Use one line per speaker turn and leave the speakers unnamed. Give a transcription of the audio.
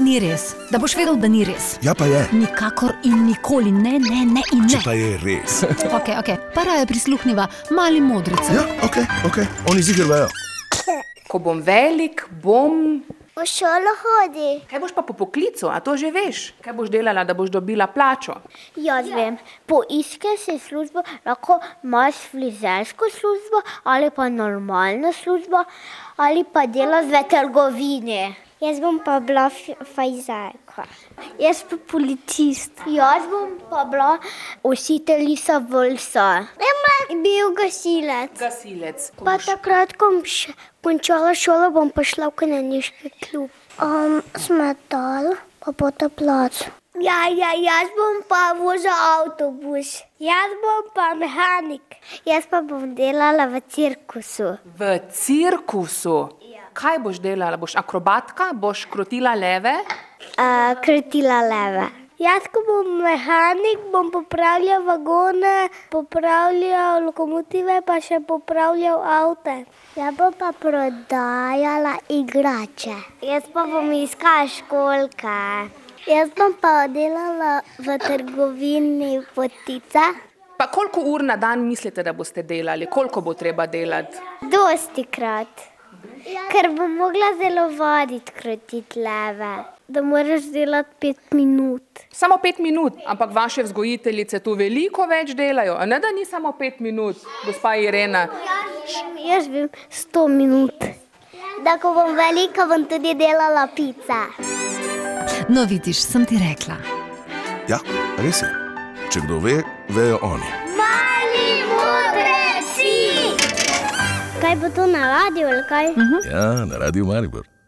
ni res, da boš vedel, da ni res.
Ja, pa je.
Nikakor in nikoli ne, ne, ne in
Če
ne.
pa je res.
Okay, okay. Para je prisluhnila mali modrici.
Ja, ok, ok, oni zigrajo.
Ko bom velik, bom.
V šolo hodi.
Kaj boš pa po poklicu, a to že veš? Kaj boš delala, da boš dobila plačo?
Jaz ja. vem, poiskaj si službo, lahko imaš frizersko službo ali pa normalno službo ali pa delaš v trgovini. Jaz bom pa bila fajzerka. Jaz pa policist. Jaz bom pa bila ositeljica vlsa. Ne bom bil gasilec.
Gasilec.
Pa takrat, ko bom še končala šolo, bom pa šla v kanjeniški klub. Um, smetal, pa bo to plač. Ja, ja, jaz bom pa vozil avtobus. Jaz bom pa mehanik. Jaz pa bom delala v cirkusu.
V cirkusu. Kaj boš delala? Boš akrobatka, boš krotila leve?
Uh, krtila leve. Jaz, ko bom mehanik, bom popravljal vagone, popravljal lokomotive, pa še popravljal avte. Jaz bom pa prodajala igrače. Jaz pa bom iskala školke. Jaz bom pa delala v trgovini potica.
Pa koliko ur na dan mislite, da boste delali? Koliko bo treba delati?
Dosti krat. Ker bom mogla zelo vaditi, krotiti leve. Da moraš delati pet minut.
Samo pet minut, ampak vaše vzgojiteljice tu veliko več delajo. A ne, da ni samo pet minut, gospa Irena.
Jaz vem, sto minut. Da, ko bom velika, bom tudi delala pica.
No, vidiš, sem ti rekla.
Ja, res je. Če kdo ve, vejo oni.
Mali modri si! Kaj bo to na radiju ali kaj?
Mhm. Ja, na radiju Maribor.